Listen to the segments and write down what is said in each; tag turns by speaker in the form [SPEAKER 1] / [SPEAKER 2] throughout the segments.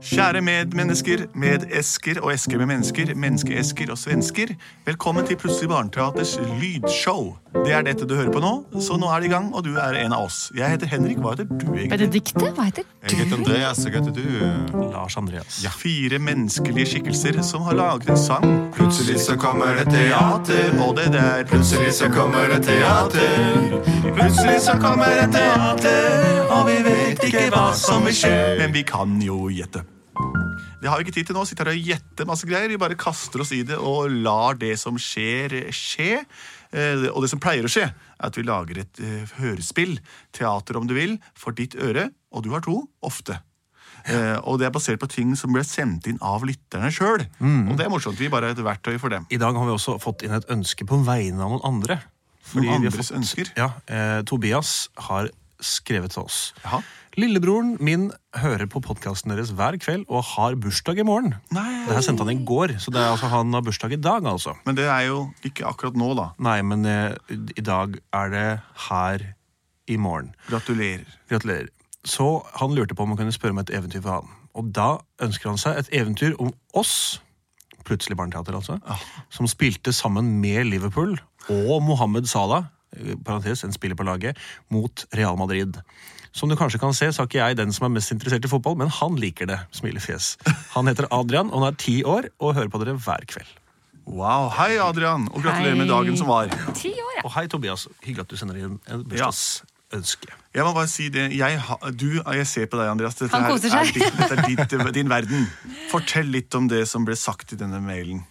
[SPEAKER 1] Kjære medmennesker, medesker og esker med mennesker, menneskeesker og svensker. Velkommen til Plutselig barneteaters lydshow. Det er dette du hører på nå, så nå er det i gang, og du er en av oss. Jeg heter Henrik, hva heter du egentlig?
[SPEAKER 2] Benedikte? Hva heter
[SPEAKER 3] Jeg heter Andreas, jeg heter du.
[SPEAKER 4] Lars Andreas.
[SPEAKER 1] Fire menneskelige skikkelser som har laget en sang.
[SPEAKER 3] Plutselig så kommer det teater.
[SPEAKER 1] Og det der
[SPEAKER 3] Plutselig så kommer det teater. Plutselig så kommer det teater.
[SPEAKER 1] Og vi vet ikke hva som vil skje, men vi kan jo gjette. Det har vi ikke tid til nå. Sitter her og gjette masse greier. Vi bare kaster oss i det og lar det som skjer, skje. Eh, Og det som pleier å skje, er at vi lager et eh, hørespill, teater om du vil, for ditt øre, og du har to, ofte. Eh, Og det er basert på ting som ble sendt inn av lytterne sjøl. Og det er morsomt. Vi bare er et verktøy for dem.
[SPEAKER 4] I dag har vi også fått inn et ønske på vegne av noen andre. Fordi
[SPEAKER 1] Noen
[SPEAKER 4] vi har
[SPEAKER 1] andres ønsker?
[SPEAKER 4] Ja, eh, Tobias har skrevet til oss.
[SPEAKER 1] Jaha.
[SPEAKER 4] Lillebroren min hører på podkasten deres hver kveld og har bursdag i morgen.
[SPEAKER 1] Nei.
[SPEAKER 4] Det her sendte han i går, så det er altså han har bursdag i dag, altså.
[SPEAKER 1] Men det er jo ikke akkurat nå, da.
[SPEAKER 4] Nei, men eh, i dag er det her i morgen.
[SPEAKER 1] Gratulerer.
[SPEAKER 4] Gratulerer. Så han lurte på om han kunne spørre om et eventyr for han. Og da ønsker han seg et eventyr om oss, plutselig barneteater altså, som spilte sammen med Liverpool og Mohammed Salah, eh, parentes, en spiller på laget, mot Real Madrid. Som du kanskje kan se, så er ikke jeg den som er mest interessert i fotball, men han liker det, smilefjes. Han heter Adrian, og han er ti år, og hører på dere hver kveld.
[SPEAKER 1] Wow. Hei, Adrian, og gratulerer med
[SPEAKER 2] Hei.
[SPEAKER 1] dagen som var.
[SPEAKER 2] det? Ti år, ja.
[SPEAKER 4] Og hei, Tobias. Hyggelig at du sender inn en bursdagsønske.
[SPEAKER 1] Jeg må bare si det. Jeg, ha- du, jeg ser på deg, Andreas. Dette
[SPEAKER 2] Han
[SPEAKER 1] her
[SPEAKER 2] koser
[SPEAKER 1] er
[SPEAKER 2] seg.
[SPEAKER 1] ditt- dette er ditt, eh, din verden. Fortell litt om det som ble sagt i denne mailen.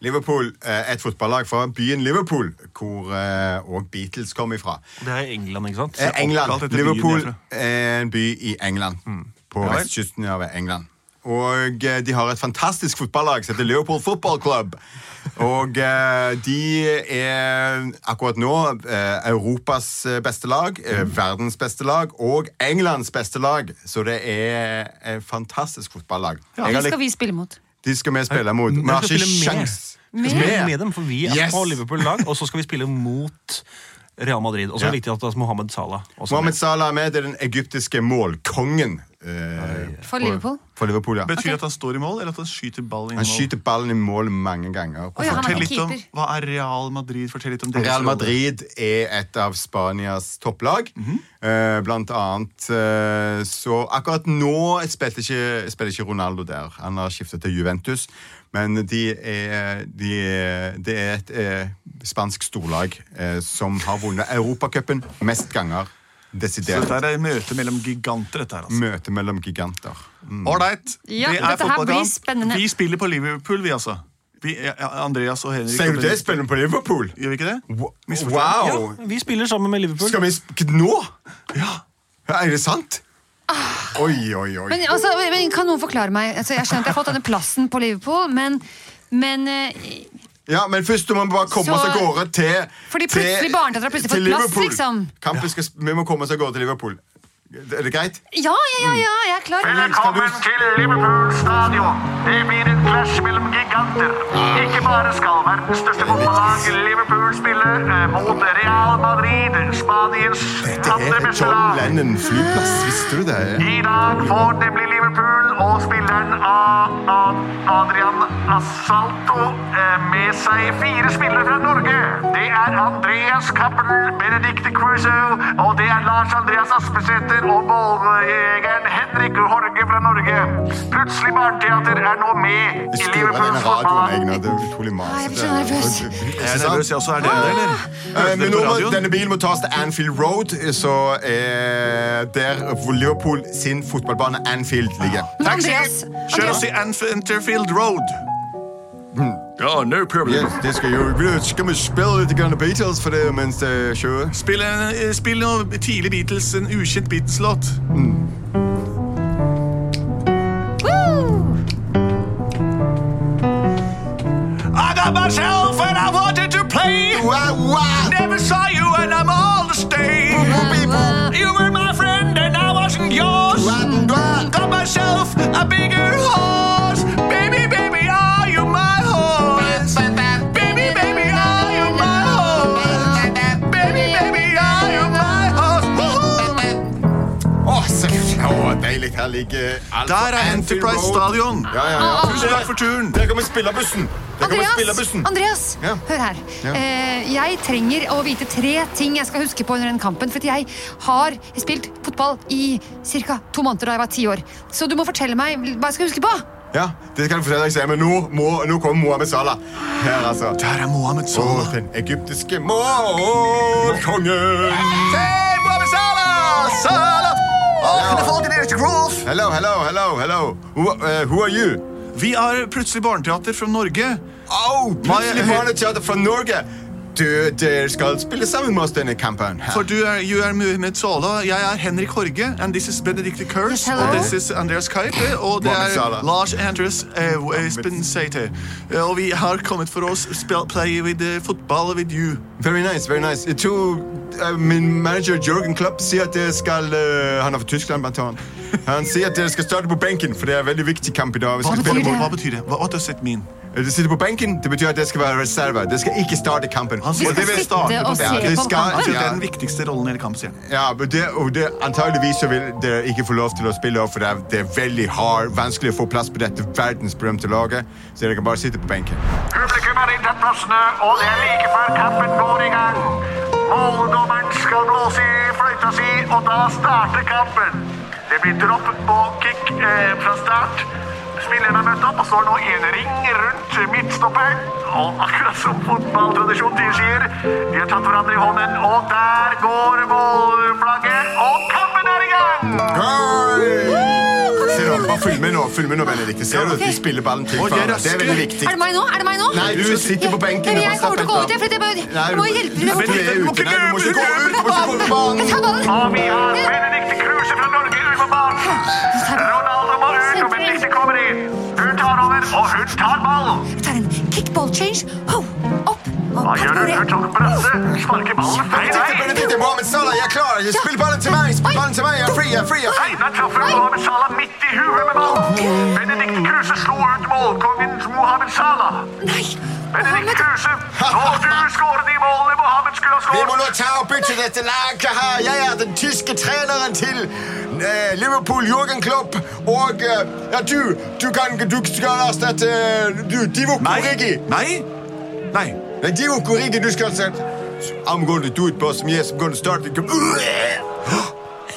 [SPEAKER 3] Liverpool, eh, et fotballag fra byen Liverpool, hvor eh, også Beatles kom ifra.
[SPEAKER 4] Det er i England, ikke sant?
[SPEAKER 3] Eh,
[SPEAKER 1] oppkalt
[SPEAKER 3] England.
[SPEAKER 1] etter byen,
[SPEAKER 3] Liverpool
[SPEAKER 1] jeg Mm.
[SPEAKER 3] er en by i England. På
[SPEAKER 1] vel.
[SPEAKER 3] vestkysten av England. Og eh, de har et fantastisk fotballag som heter Liverpool Football Club. Og eh, de er akkurat nå eh, Europas eh, beste lag, eh,
[SPEAKER 1] Mm.
[SPEAKER 3] verdens beste lag og Englands beste lag. Så det er et fantastisk fotballag. Jeg har
[SPEAKER 2] Det
[SPEAKER 3] likt-
[SPEAKER 2] skal vi spille mot.
[SPEAKER 3] de skal vi spille mot. Vi
[SPEAKER 4] Men
[SPEAKER 3] har
[SPEAKER 4] vi skal
[SPEAKER 3] ikke
[SPEAKER 4] spille med.
[SPEAKER 3] sjans.
[SPEAKER 4] Vi skal spille med
[SPEAKER 3] Med.
[SPEAKER 4] dem, for vi er
[SPEAKER 3] Yes!
[SPEAKER 4] på Liverpool-lag, og så skal vi spille mot Real Madrid. Og så er det viktig at det er Mohammed Salah også er
[SPEAKER 3] Mohammed
[SPEAKER 4] med.
[SPEAKER 3] Salah er med. Det er den egyptiske målkongen. eh,
[SPEAKER 2] For Liverpool.
[SPEAKER 3] For Liverpool, ja.
[SPEAKER 1] Betyr det at han står i mål, eller at han skyter ball i mål?
[SPEAKER 3] Han skyter ballen i mål mange ganger.
[SPEAKER 2] Oi, han er
[SPEAKER 1] Fortell litt om,
[SPEAKER 2] keeper.
[SPEAKER 1] hva er Real Madrid? Fortell litt om deres
[SPEAKER 3] Real
[SPEAKER 1] rolle.
[SPEAKER 3] Madrid er et av Spanias topplag. Eh, Blant annet eh, Så akkurat nå spilte ikke, spiller ikke Ronaldo der. Han har skiftet til Juventus. Men de er, de er, det er et eh, spansk storlag eh, som har vunnet Europacupen mest ganger.
[SPEAKER 1] Så
[SPEAKER 3] Desidert.
[SPEAKER 1] dette er møte mellom giganter. dette her, altså.
[SPEAKER 3] Møte mellom giganter. Mm.
[SPEAKER 1] Ålreit.
[SPEAKER 2] Ja,
[SPEAKER 1] det er
[SPEAKER 2] dette her
[SPEAKER 1] fotballkamp.
[SPEAKER 2] blir spennende.
[SPEAKER 1] Vi spiller på Liverpool, vi, altså. Vi, ja, Andreas og Henrik.
[SPEAKER 3] Sier du det? Spiller du på Liverpool?
[SPEAKER 1] Gjør vi ikke det?
[SPEAKER 3] Wow!
[SPEAKER 4] Ja, vi spiller sammen med Liverpool.
[SPEAKER 3] Skal vi sk nå? Ja, Er det sant? Oi, oi, oi.
[SPEAKER 2] Men, altså, men Kan noen forklare meg? Altså, jeg skjønner at jeg har fått denne plassen på Liverpool, men, men eh,
[SPEAKER 3] Ja, men først må vi bare komme
[SPEAKER 2] Så-
[SPEAKER 3] oss av gårde til
[SPEAKER 2] Fordi
[SPEAKER 3] til-
[SPEAKER 2] plutselig barneteater har plutselig
[SPEAKER 3] til
[SPEAKER 2] fått plass,
[SPEAKER 3] Liverpool.
[SPEAKER 2] liksom.
[SPEAKER 3] Kampen skal, sp- vi må komme oss av gårde til Liverpool. Er det greit?
[SPEAKER 2] Ja, ja, ja, ja, jeg er klar.
[SPEAKER 3] Mm.
[SPEAKER 5] Velkommen til Liverpool Stadion. Det blir en clash mellom giganter. Ikke bare skal verdens største fotballag Liverpool spille eh, mot Real Madrid, Spaniens andre
[SPEAKER 3] Det er
[SPEAKER 5] beste
[SPEAKER 3] John
[SPEAKER 5] lag.
[SPEAKER 3] Lennon flyplass, visste du det?
[SPEAKER 5] I dag får nemlig Liverpool og spilleren A- A- Adrian Assalto eh, med seg fire spillere fra Norge. Det er Andreas Cappelen, Benedicte Crusoe, og det er Lars Andreas Aspesæter og måljegeren Henrik Horge fra Norge. Plutselig barneteater er nå med
[SPEAKER 3] Jeg skrur
[SPEAKER 5] i
[SPEAKER 3] av den
[SPEAKER 5] Liverpools
[SPEAKER 3] radioen,
[SPEAKER 5] fotballag.
[SPEAKER 3] Egnar. Det er utrolig
[SPEAKER 2] Nei, jeg
[SPEAKER 3] masete.
[SPEAKER 2] blir så nervøs.
[SPEAKER 1] Jeg er nervøs, jeg også. Er dere det, eller?
[SPEAKER 3] Eh,
[SPEAKER 1] Hørte
[SPEAKER 3] Men
[SPEAKER 1] dere
[SPEAKER 3] nå
[SPEAKER 1] på
[SPEAKER 3] må,
[SPEAKER 1] radioen?
[SPEAKER 3] denne bilen må tas til Anfield Road, så eh, der hvor Liverpool sin fotballbane Anfield ligger.
[SPEAKER 2] Men Andreas,
[SPEAKER 1] Kjør
[SPEAKER 2] Andreas
[SPEAKER 1] oss i Anfield Road. Ja, no problem.
[SPEAKER 3] Hmm. Yes, det skal jo vi Skal vi spille litt grann Beatles for det mens det kjører?
[SPEAKER 1] Spill, en, eh, spill noe tidlig Beatles, en ukjent Beatles-låt. I got myself and I wanted to play. Never saw you and I'm all the same.
[SPEAKER 2] Eh,
[SPEAKER 1] You were my friend and I wasn't yours. Got myself a bigger horse. Baby, baby, are you my horse? Baby, baby, are you my horse? Baby, baby, are you my horse?
[SPEAKER 3] Å, selvfølgelig! ligger alt
[SPEAKER 1] Der er
[SPEAKER 3] fra Anfield
[SPEAKER 1] Enterprise
[SPEAKER 3] Road.
[SPEAKER 1] Stadion.
[SPEAKER 3] Ja, ja, ja.
[SPEAKER 1] Tusen takk for turen.
[SPEAKER 3] Der kommer spillerbussen! Der kommer
[SPEAKER 2] Andreas,
[SPEAKER 3] spillerbussen!
[SPEAKER 2] Andreas
[SPEAKER 3] Ja.
[SPEAKER 2] hør her.
[SPEAKER 3] Ja.
[SPEAKER 2] Eh, jeg trenger å vite tre ting jeg skal huske på under den kampen. For at jeg har spilt fotball i ca. to måneder da jeg var ti år. Så du må fortelle meg hva jeg skal huske på.
[SPEAKER 3] Ja, det kan jeg fortelle deg, Sam, men nå, må, nå kommer Mohammed Salah. Her, altså.
[SPEAKER 1] Der er Mohammed
[SPEAKER 3] Og
[SPEAKER 1] Salah.
[SPEAKER 3] den egyptiske målkongen.
[SPEAKER 1] Hey, Mohammed Salah! Salah! Åh, kunne folk i deres grove?
[SPEAKER 3] Hello, hello, hello, hello. Who, eh, who are you?
[SPEAKER 1] Vi er plutselig barneteater fra Norge.
[SPEAKER 3] Au, plutselig
[SPEAKER 1] My-
[SPEAKER 3] var det teater fra Norge. Du, dere skal spille sammen med oss denne kampen. her.
[SPEAKER 1] For du er, you are Mohammed Salah, jeg er Henrik Horge, and this is Benedicte
[SPEAKER 2] Yes,
[SPEAKER 1] Kurs,
[SPEAKER 2] hello.
[SPEAKER 1] og this is Andreas Keipe, og det
[SPEAKER 3] Mohammed
[SPEAKER 1] er
[SPEAKER 3] Salah.
[SPEAKER 1] Lars Andres eh, Spensate. Og vi har kommet for oss spell, play with eh, football with you.
[SPEAKER 3] Very nice, very nice. Jeg tror eh, min manager Jørgen Klopp sier at dere skal eh, Han er fra Tyskland, blant annet. Han sier at dere skal starte på benken, for det er en veldig viktig kamp i dag. Vi
[SPEAKER 1] Hva
[SPEAKER 3] skal
[SPEAKER 1] betyr
[SPEAKER 3] spille
[SPEAKER 1] det?
[SPEAKER 3] mot-
[SPEAKER 1] Hva betyr det? Hva- What does it mean?
[SPEAKER 3] Dere sitter på benken, det betyr at dere skal være reserve. Dere skal ikke starte kampen.
[SPEAKER 1] Han sier
[SPEAKER 3] Og det
[SPEAKER 1] at
[SPEAKER 3] vil-
[SPEAKER 1] vi starter
[SPEAKER 2] sitte og
[SPEAKER 1] på
[SPEAKER 2] se
[SPEAKER 3] Ja,
[SPEAKER 2] på
[SPEAKER 3] det
[SPEAKER 2] kampen.
[SPEAKER 3] skal-
[SPEAKER 1] Altså,
[SPEAKER 3] ja.
[SPEAKER 1] Det er den viktigste rollen i hele kampen, sier han.
[SPEAKER 3] Ja, men det, og det, antageligvis så vil dere ikke få lov til å spille opp, for det er, det er veldig hard, vanskelig å få plass på dette verdensberømte laget, så dere kan bare sitte på benken.
[SPEAKER 5] Publikum har inntatt plassene, og det er like før kampen går i gang. Måldommeren skal blåse i fløyta si, og da starter kampen. Det blir dropp på kick eh, fra start. Spillerne har møtt opp og står nå i en ring rundt midtstopperen. Og akkurat som fotballtradisjon tilsier, de har tatt hverandre i hånden, og der går målflagget, og kampen er i gang!
[SPEAKER 3] Se nå, bare følg med nå, følg med nå, Benedikte. Ser du, de spiller ballen til
[SPEAKER 1] Å, de er
[SPEAKER 3] hverandre. Det er veldig
[SPEAKER 1] raske.
[SPEAKER 3] viktig.
[SPEAKER 2] Er det meg nå? Er det meg nå?
[SPEAKER 3] Nei, du sitter på benken.
[SPEAKER 2] Men
[SPEAKER 3] du må
[SPEAKER 2] jeg kommer til å gå
[SPEAKER 3] slappe
[SPEAKER 2] ut, jeg, for jeg må-
[SPEAKER 3] Nei,
[SPEAKER 2] jeg må hjelpe til.
[SPEAKER 3] Du
[SPEAKER 1] Du
[SPEAKER 3] er
[SPEAKER 1] må
[SPEAKER 3] ute.
[SPEAKER 1] ikke
[SPEAKER 3] Nei, du må ikke gå ut, du må ikke gå på
[SPEAKER 2] Jeg tar
[SPEAKER 3] banen.
[SPEAKER 2] ballen.
[SPEAKER 5] Og vi har Benedicte Kruse fra Norge ut på banen. Ronaldo må ut, og Benedicte kommer inn. Hun tar over, og hun tar ballen.
[SPEAKER 2] Jeg tar en kickball change. Ho, opp. Og
[SPEAKER 5] Hva gjør hun? Hun tok brasse, sparker ballen feil
[SPEAKER 3] Benedikte,
[SPEAKER 5] vei.
[SPEAKER 3] Benedikte, Mohamed Salah, jeg er klar. Jeg spiller ballen til meg, spill ballen til meg. Jeg er fri, jeg er fri, jeg er fri.
[SPEAKER 5] Einar traff Mohammed Salah midt i huet med ballen. Benedicte Kruse slo ut målkongen Mohammed Salah.
[SPEAKER 2] Nei.
[SPEAKER 5] Benedicte Kruse, nå du skåret de målene Mohammed skulle ha
[SPEAKER 3] Vi må nå
[SPEAKER 5] skåret.
[SPEAKER 3] ta opp til dette laget her. Jeg er den tyske treneren til eh, Liverpool, Jürgen Klopp. Og eh, ja, du, du kan du skal erstatte eh, du, Divo Korigi.
[SPEAKER 1] Nei? Nei.
[SPEAKER 3] Nei, Divo Korigi, du skal erstatte I'm going to do it, boss. Yes, I'm going to start it.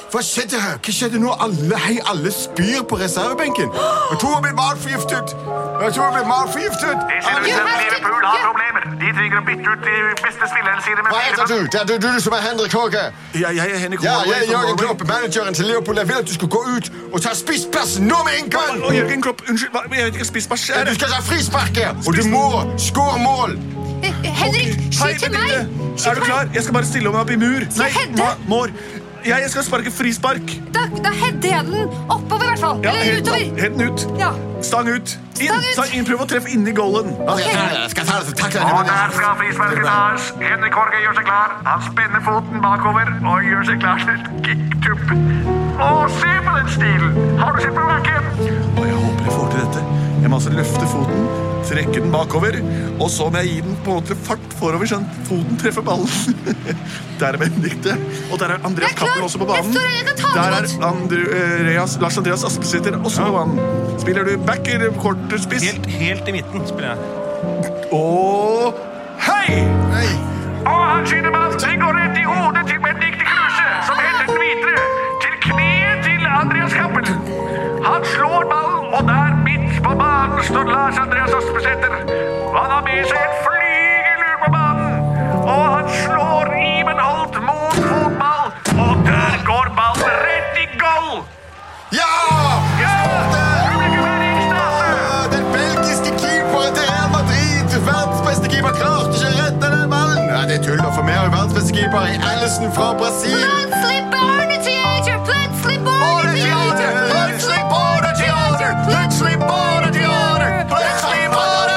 [SPEAKER 3] Hva skjedde her? Hva skjedde nå? Alle, hei, alle spyr på reservebenken. Jeg tror jeg blir matforgiftet. Jeg tror jeg blir matforgiftet.
[SPEAKER 5] Det ser ut
[SPEAKER 2] You
[SPEAKER 5] som
[SPEAKER 2] have to-
[SPEAKER 5] Liverpool har problemer. De trenger å bytte ut de beste spillerne sine med
[SPEAKER 3] Hva heter
[SPEAKER 5] spillere.
[SPEAKER 3] du? Det er du, du som er Henrik Håge.
[SPEAKER 1] Jeg, jeg er Henrik
[SPEAKER 3] Ja,
[SPEAKER 1] Horge
[SPEAKER 3] jeg er
[SPEAKER 1] fra
[SPEAKER 3] Jørgen
[SPEAKER 1] Norway.
[SPEAKER 3] Klopp, manageren til Leopold. Jeg vil at du skal gå ut og ta spissplassen nå med en gang!
[SPEAKER 1] Å, Jørgen Klopp, unnskyld, hva- jeg vet ikke, spiss, hva skjer?
[SPEAKER 3] Du skal ta frisparket, og du må skåre mål!
[SPEAKER 2] Eh, Henrik,
[SPEAKER 1] Hei,
[SPEAKER 2] skyt til meg.
[SPEAKER 1] Benedikte. Er du
[SPEAKER 2] Skyt til meg.
[SPEAKER 1] klar? Jeg skal bare stille meg opp i mur.
[SPEAKER 2] Skal jeg heade?
[SPEAKER 1] ma- mår. Jeg, jeg skal sparke frispark.
[SPEAKER 2] Da, da header jeg den oppover, i hvert fall.
[SPEAKER 1] Ja,
[SPEAKER 2] Eller
[SPEAKER 1] helt-
[SPEAKER 2] utover.
[SPEAKER 1] helt den ut.
[SPEAKER 2] Ja.
[SPEAKER 1] Stang ut. Inn.
[SPEAKER 2] Stang ut.
[SPEAKER 1] Stang inn. Prøv å treffe inni goalen.
[SPEAKER 3] Ok, jeg tar det, jeg skal ta det, så takler
[SPEAKER 5] Og
[SPEAKER 3] jeg det.
[SPEAKER 5] der skal frisparket tas. Henrik Horge gjør seg klar. Han spenner foten bakover og gjør seg klar til et kicktupp. Å, se på den stilen! Har du sett på bakken?
[SPEAKER 1] Og jeg håper jeg får til dette. Jeg må altså løfte foten, trekke den bakover, og så må jeg gi den på en måte fart forover, sånn at foten treffer ballen. der er Benedikte. Og der er Andreas
[SPEAKER 2] Jeg er klar.
[SPEAKER 1] Cappelen også på banen.
[SPEAKER 2] Jeg står her, jeg kan ta den
[SPEAKER 1] Der er
[SPEAKER 2] imot.
[SPEAKER 1] Andreas, Lars Andreas Aspesæter også på banen. Spiller du back eller quarterspiss?
[SPEAKER 4] Helt, helt i midten spiller jeg.
[SPEAKER 1] Og hei!
[SPEAKER 5] Og han skyter ballen. Den går rett i hodet til Benedicte Kruse, som henter den videre. Til kneet til Andreas Cappelen. Han slår ballen, og der midt på banen står Lars Andreas Aspesæter. Han har med seg et flygelur på banen. Og han slår Iben Holt mot fotball, og der går ballen rett i goal!
[SPEAKER 3] Ja!
[SPEAKER 5] Ja! Publikum er i ekstase.
[SPEAKER 3] Den belgiske keeperen til Real Madrid, verdens beste keeper, klarte ikke å redde den ballen! Ja, det er tull å få med verdens beste keeper i Ellison fra Brasil.
[SPEAKER 2] Plötslig barn i teenager, plötslig barn i teenager, plötslig barn i teenager, plötslig barn i teenager, plötslig barn i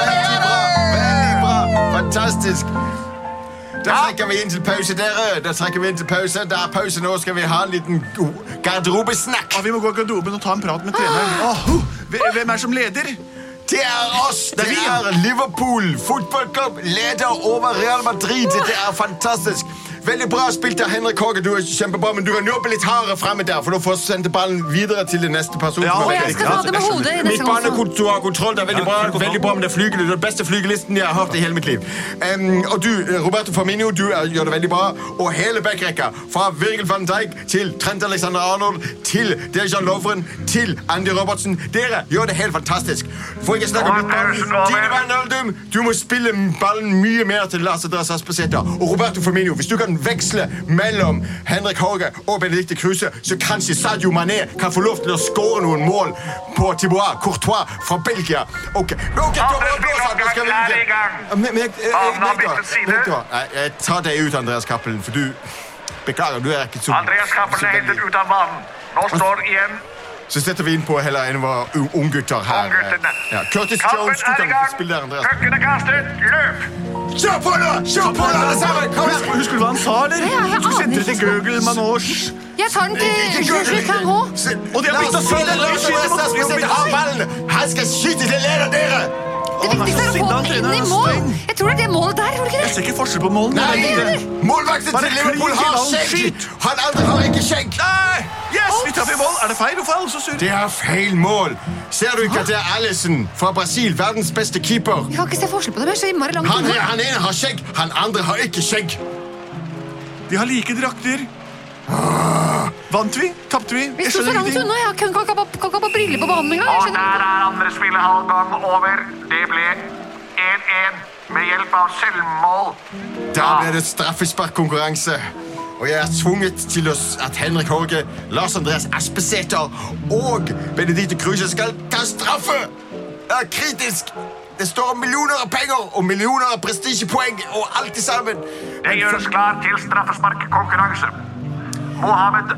[SPEAKER 3] Veldig bra,
[SPEAKER 2] teenager.
[SPEAKER 3] veldig bra. Fantastisk. Da trekker vi inn til pause, dere. Da trekker vi inn til pause. Det er pause nå. Skal vi ha en liten god garderobesnakk?
[SPEAKER 1] Ja, Ah, vi må gå i garderoben og ta en prat med treneren.
[SPEAKER 2] Ah.
[SPEAKER 1] Åh, hvem- hvem er som leder?
[SPEAKER 3] Det er oss! Det
[SPEAKER 1] vi.
[SPEAKER 3] er Liverpool fotballklubb, leder over Real Madrid. Det er fantastisk. Veldig bra spilt av Henrik Håge, du er kjempebra, men du kan jobbe litt hardere fremme der, for da får du sendt ballen videre til den neste personen.
[SPEAKER 1] Ja,
[SPEAKER 3] som
[SPEAKER 1] og
[SPEAKER 3] har
[SPEAKER 1] jeg
[SPEAKER 3] rett.
[SPEAKER 1] skal ta
[SPEAKER 2] det med
[SPEAKER 3] Jeg skjønner.
[SPEAKER 2] hodet i neste gang.
[SPEAKER 3] Midtbanekont- du har kontroll, det er veldig
[SPEAKER 1] Ja,
[SPEAKER 3] bra,
[SPEAKER 1] full kontroll.
[SPEAKER 3] veldig bra med det flygelet. Du er den beste flygelisten jeg har hørt i hele mitt liv. Em, og du, eh, Roberto Firmino, du er, gjør det veldig bra. Og hele backrekka, fra Virgil van Dijk til Trent Alexander Arnold til Dejan Lovren til Andy Robertsen. Dere gjør det helt fantastisk. Får ikke snakke om
[SPEAKER 5] Nå er
[SPEAKER 3] midtbanen.
[SPEAKER 5] pausen over.
[SPEAKER 3] Dine Van Aldum, du må spille ballen mye mer til Lasse Dress Aspesæter og Roberto Firmino. Hvis du kan veksle mellom Henrik Hauge og Benedicte Kruse, så kanskje Sadio Mané kan få lov til å skåre noen mål på Tibois Courtois fra Belgia. Ok, ok, da må jeg gå, Sadio, skal vi
[SPEAKER 5] Er i gang.
[SPEAKER 3] Men jeg- jeg- jeg-
[SPEAKER 5] Banen har
[SPEAKER 3] vet du hva?
[SPEAKER 5] byttet side.
[SPEAKER 3] Vet du hva? Nei, jeg tar deg ut, Andreas Cappelen, for du Beklager, du er ikke så
[SPEAKER 5] Andreas Cappelen er hentet ut av banen. Nå står igjen
[SPEAKER 3] Så setter vi inn på heller en av våre u- unggutter her.
[SPEAKER 5] ungguttene.
[SPEAKER 3] Ja, Curtis
[SPEAKER 5] Kampen
[SPEAKER 3] Jones, du
[SPEAKER 5] er i
[SPEAKER 3] kan
[SPEAKER 5] gang.
[SPEAKER 3] spille der, Andreas.
[SPEAKER 5] Pucken er kastet. Løp!
[SPEAKER 3] Kjør på, da! Kjør på, da, alle sammen! Kom
[SPEAKER 1] Husker,
[SPEAKER 3] igjen!
[SPEAKER 1] husker du hva han sa, eller?
[SPEAKER 2] Ja,
[SPEAKER 1] Du
[SPEAKER 2] jeg
[SPEAKER 1] skulle
[SPEAKER 2] aner
[SPEAKER 1] sende det til
[SPEAKER 2] ikke.
[SPEAKER 1] Gøgel, Manoj
[SPEAKER 2] Jeg tar den til Jules Carrot.
[SPEAKER 1] Og de har begynt å spille, de skyter mot Rosenborg.
[SPEAKER 3] Han skal skyte til en av dere!
[SPEAKER 2] Det viktigste er å få den inn i mål. Jeg tror det er det målet der. var det ikke
[SPEAKER 1] Jeg
[SPEAKER 2] det?
[SPEAKER 1] ser ikke forskjell på målene.
[SPEAKER 3] Nei!
[SPEAKER 1] det er ikke det.
[SPEAKER 3] Målvakten
[SPEAKER 1] Bare
[SPEAKER 3] til Liverpool
[SPEAKER 1] klink i
[SPEAKER 3] har
[SPEAKER 1] land,
[SPEAKER 3] skjegg!
[SPEAKER 1] skyt!
[SPEAKER 3] Han andre har ikke skjegg!
[SPEAKER 1] Nei! Yes, vi traff i mål. Er det feil? Hvorfor er alle så sure?
[SPEAKER 3] Det er feil mål! Ser du ikke at det er Alison fra Brasil, verdens beste keeper?
[SPEAKER 2] Jeg kan ikke se forskjell på dem. Jeg er så innmari langt
[SPEAKER 3] Han,
[SPEAKER 2] unna.
[SPEAKER 3] han ene har skjegg, han andre har ikke skjegg.
[SPEAKER 1] De har like drakter. Vant vi? Tapte vi?
[SPEAKER 2] Ah. Vi
[SPEAKER 1] Jeg
[SPEAKER 2] sto så
[SPEAKER 1] skjønner
[SPEAKER 2] langt
[SPEAKER 1] ingenting.
[SPEAKER 2] unna. Jeg kan kan ikke ha på- kan ikke ha på briller på banen engang. Jeg
[SPEAKER 5] Og
[SPEAKER 2] skjønner
[SPEAKER 5] der er andre spillehalvgang over. Det ble 1-1 med hjelp av selvmål.
[SPEAKER 3] Da ble det straffesparkkonkurranse. Og jeg er tvunget til å s- at Henrik Horge, Lars Andreas Aspesæter og Benedicte Kruse skal ta straffe! Det er kritisk! Det står om millioner av penger og millioner av prestisjepoeng og alt det sammen.
[SPEAKER 5] Det gjøres klar til straffesparkkonkurranse. Mohammed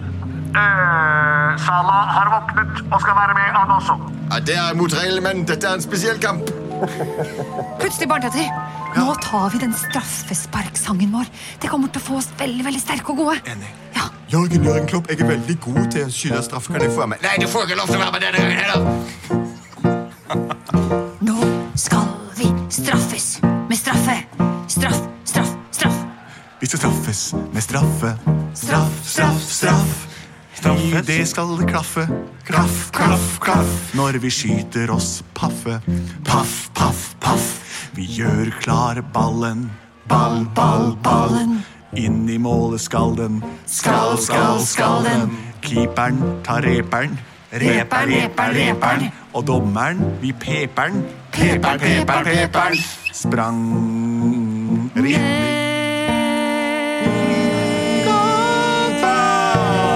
[SPEAKER 5] øh, Salah har våknet og skal være med, han også.
[SPEAKER 3] Ja, det er mot reglene, men dette er en spesiell kamp.
[SPEAKER 2] Plutselig barneteater. Nå tar vi den straffesparksangen vår. Det kommer til å få oss veldig veldig sterke og gode.
[SPEAKER 1] Enig.
[SPEAKER 2] Ja.
[SPEAKER 3] Jørgen Jørgen Klopp, jeg er veldig god til å skyte straff. Kan jeg få være med? Nei, du får ikke lov til å være med denne gangen heller.
[SPEAKER 2] Nå skal vi straffes med straffe. Straff, straff, straff.
[SPEAKER 1] Vi skal straffes med straffe. Straff, straff, straff. I det skal det klaffe. Klaff, klaff, klaff. Når vi skyter oss paffe. Paff, paff, paff. Vi gjør klar ballen. Ball, ball, ballen. Inn i målet skal den. Skal, skal, skal den. Keeperen tar reperen.
[SPEAKER 2] Reper, reper, reper.
[SPEAKER 1] Og dommeren, vi peperen. Peper, peper, peper. Sprang rinning.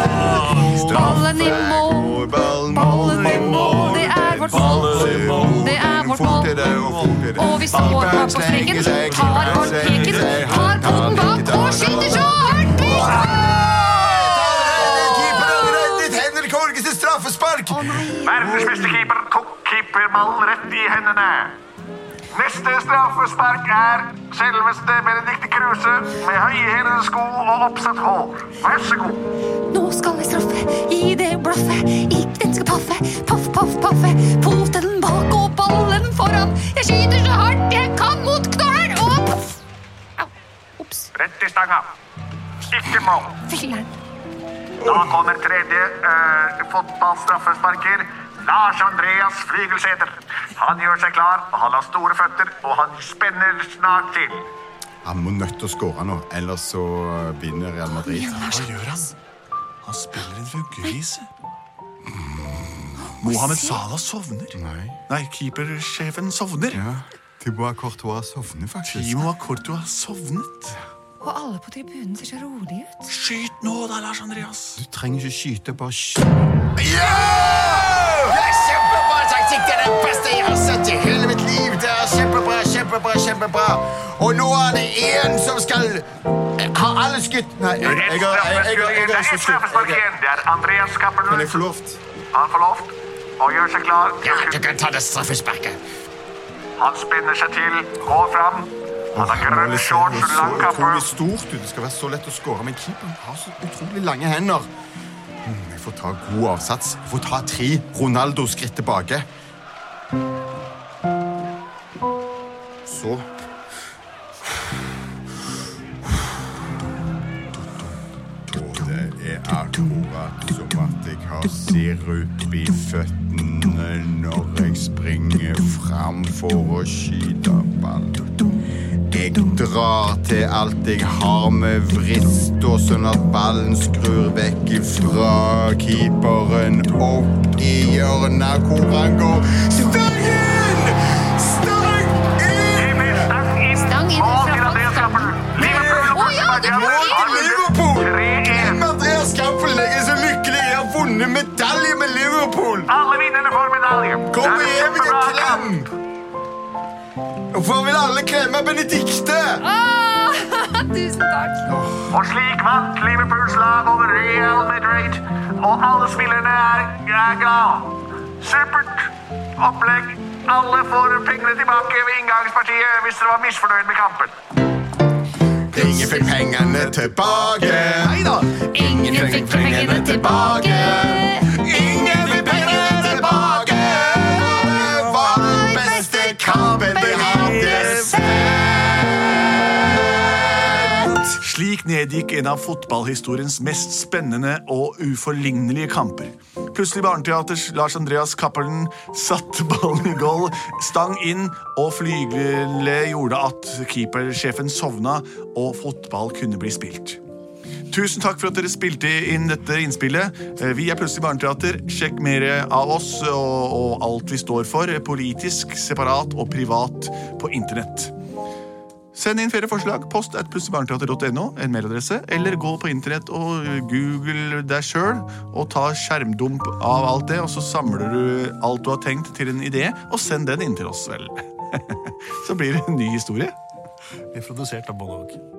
[SPEAKER 2] Ballen i mål,
[SPEAKER 3] Ballen,
[SPEAKER 2] ballen i mål. Det er vårt mål, det er vårt mål. Og vi står bak på streken, tar bort peken, tar poten bak og skyter så hardt vi
[SPEAKER 3] Straffespark!
[SPEAKER 5] Verdens beste keeper tok keeperballen rett i hendene. Neste straffespark er selveste Benedicte Kruse med høyhælede sko og oppsatt hår. Vær så god.
[SPEAKER 2] Nå skal vi straffe i det blaffet, i den skal paffe, paff, paff, paffe. Poten bak og ballen foran. Jeg skyter så hardt jeg kan mot knollen og paff. Au. Ops.
[SPEAKER 5] Rett i stanga. Ikke mål.
[SPEAKER 2] Filler'n.
[SPEAKER 5] Da kommer tredje eh, fotballstraffesparker. Lars Andreas Flygelsæter. Han gjør seg klar, og han har store føtter, og han spenner snart til.
[SPEAKER 3] Han må nødt til å skåre nå, ellers så vinner Real Madrid.
[SPEAKER 1] Hva gjør han? Han spiller en vuggerise. Mohammed Salah sovner.
[SPEAKER 3] Nei.
[SPEAKER 1] Nei, keepersjefen sovner.
[SPEAKER 3] Ja, Tibois Courtois sovner faktisk.
[SPEAKER 1] Timo Akortua har sovnet.
[SPEAKER 2] Og alle på tribunen ser så rolige ut.
[SPEAKER 1] Skyt nå da, Lars Andreas.
[SPEAKER 3] Du trenger ikke skyte, bare skyt. Det er kjempebra taktikk! Det er den beste jeg har sett i hele mitt liv! Det er kjempebra, kjempebra, kjempebra! Og nå er det én som skal ha alle skutt. Nei, jeg, jeg,
[SPEAKER 5] Ett
[SPEAKER 3] har- jeg, jeg, jeg, jeg har
[SPEAKER 5] straffespark igjen. Det er
[SPEAKER 3] ikke
[SPEAKER 5] ett
[SPEAKER 3] skutt.
[SPEAKER 5] straffespark
[SPEAKER 3] Jeg-
[SPEAKER 5] igjen. Det er Andreas
[SPEAKER 3] Kan jeg
[SPEAKER 5] Cappelen.
[SPEAKER 3] få lov? til-
[SPEAKER 5] Han får lov, og gjør seg klar. til å
[SPEAKER 3] Du
[SPEAKER 5] skyte.
[SPEAKER 3] kan ta det straffesparket.
[SPEAKER 5] Han spenner seg til, går fram. Han har grønne shorts og lang
[SPEAKER 3] Det
[SPEAKER 5] kappe.
[SPEAKER 3] er så utrolig stort ut. Det skal være så lett å skåre, men keeperen har så utrolig lange hender. Mm, Jeg får ta god avsats. Jeg får ta tre Ronaldo-skritt tilbake. Så Akkurat som at jeg har sirup i føttene når jeg springer fram for å skyte ball. Jeg drar til alt jeg har med vrist, og sånn at ballen skrur vekk fra keeperen opp i hjørnet hvor han går. Stangen! Stang inn!
[SPEAKER 5] Emil Stang inn
[SPEAKER 2] Stang inn
[SPEAKER 5] og
[SPEAKER 2] fra
[SPEAKER 5] til Andreas Cappelen. Liverpool og
[SPEAKER 2] Å ja, det
[SPEAKER 5] Barcelona
[SPEAKER 2] var det!
[SPEAKER 5] har vunnet
[SPEAKER 3] Liverpool!
[SPEAKER 5] 3-1.
[SPEAKER 3] Andreas Cappelen, jeg er så lykkelig! Jeg har vunnet medalje med Liverpool!
[SPEAKER 5] Alle vinnerne får medalje.
[SPEAKER 3] Kom
[SPEAKER 5] Det er en
[SPEAKER 3] hjem, jeg
[SPEAKER 5] kjempebra
[SPEAKER 3] klem!
[SPEAKER 5] kamp.
[SPEAKER 3] Hvorfor vil alle klemme Benedikte?
[SPEAKER 2] Åh, tusen takk.
[SPEAKER 5] Og slik vant Liverpools lag over Real Madrid. Og alle spillerne er, er glad. Supert opplegg. Alle får pengene tilbake ved inngangspartiet hvis dere var misfornøyd med kampen.
[SPEAKER 3] Ingen fikk pengene tilbake.
[SPEAKER 1] Nei da!
[SPEAKER 2] Ingen fikk pengene tilbake.
[SPEAKER 3] Ingen fikk pengene tilbake. Det var den beste kampen vi hadde sett.
[SPEAKER 1] Slik nedgikk en av fotballhistoriens mest spennende og uforlignelige kamper. Plutselig Barneteaters Lars Andreas Cappelen satte ballen i goal, stang inn, og flygelet gjorde at keepersjefen sovna, og fotball kunne bli spilt. Tusen takk for at dere spilte inn dette innspillet. Eh, Vi er Plutselig barneteater. Sjekk mer eh, av oss og, og alt vi står for, eh, politisk, separat og privat, på internett. Send inn flere forslag. Post at plutseligbarneteater.no, en mailadresse, eller gå på internett og eh, google deg sjøl og ta skjermdump av alt det, og så samler du alt du har tenkt, til en idé, og send den inn til oss, vel. så blir det en ny historie.
[SPEAKER 4] Blir produsert av Bollevåg.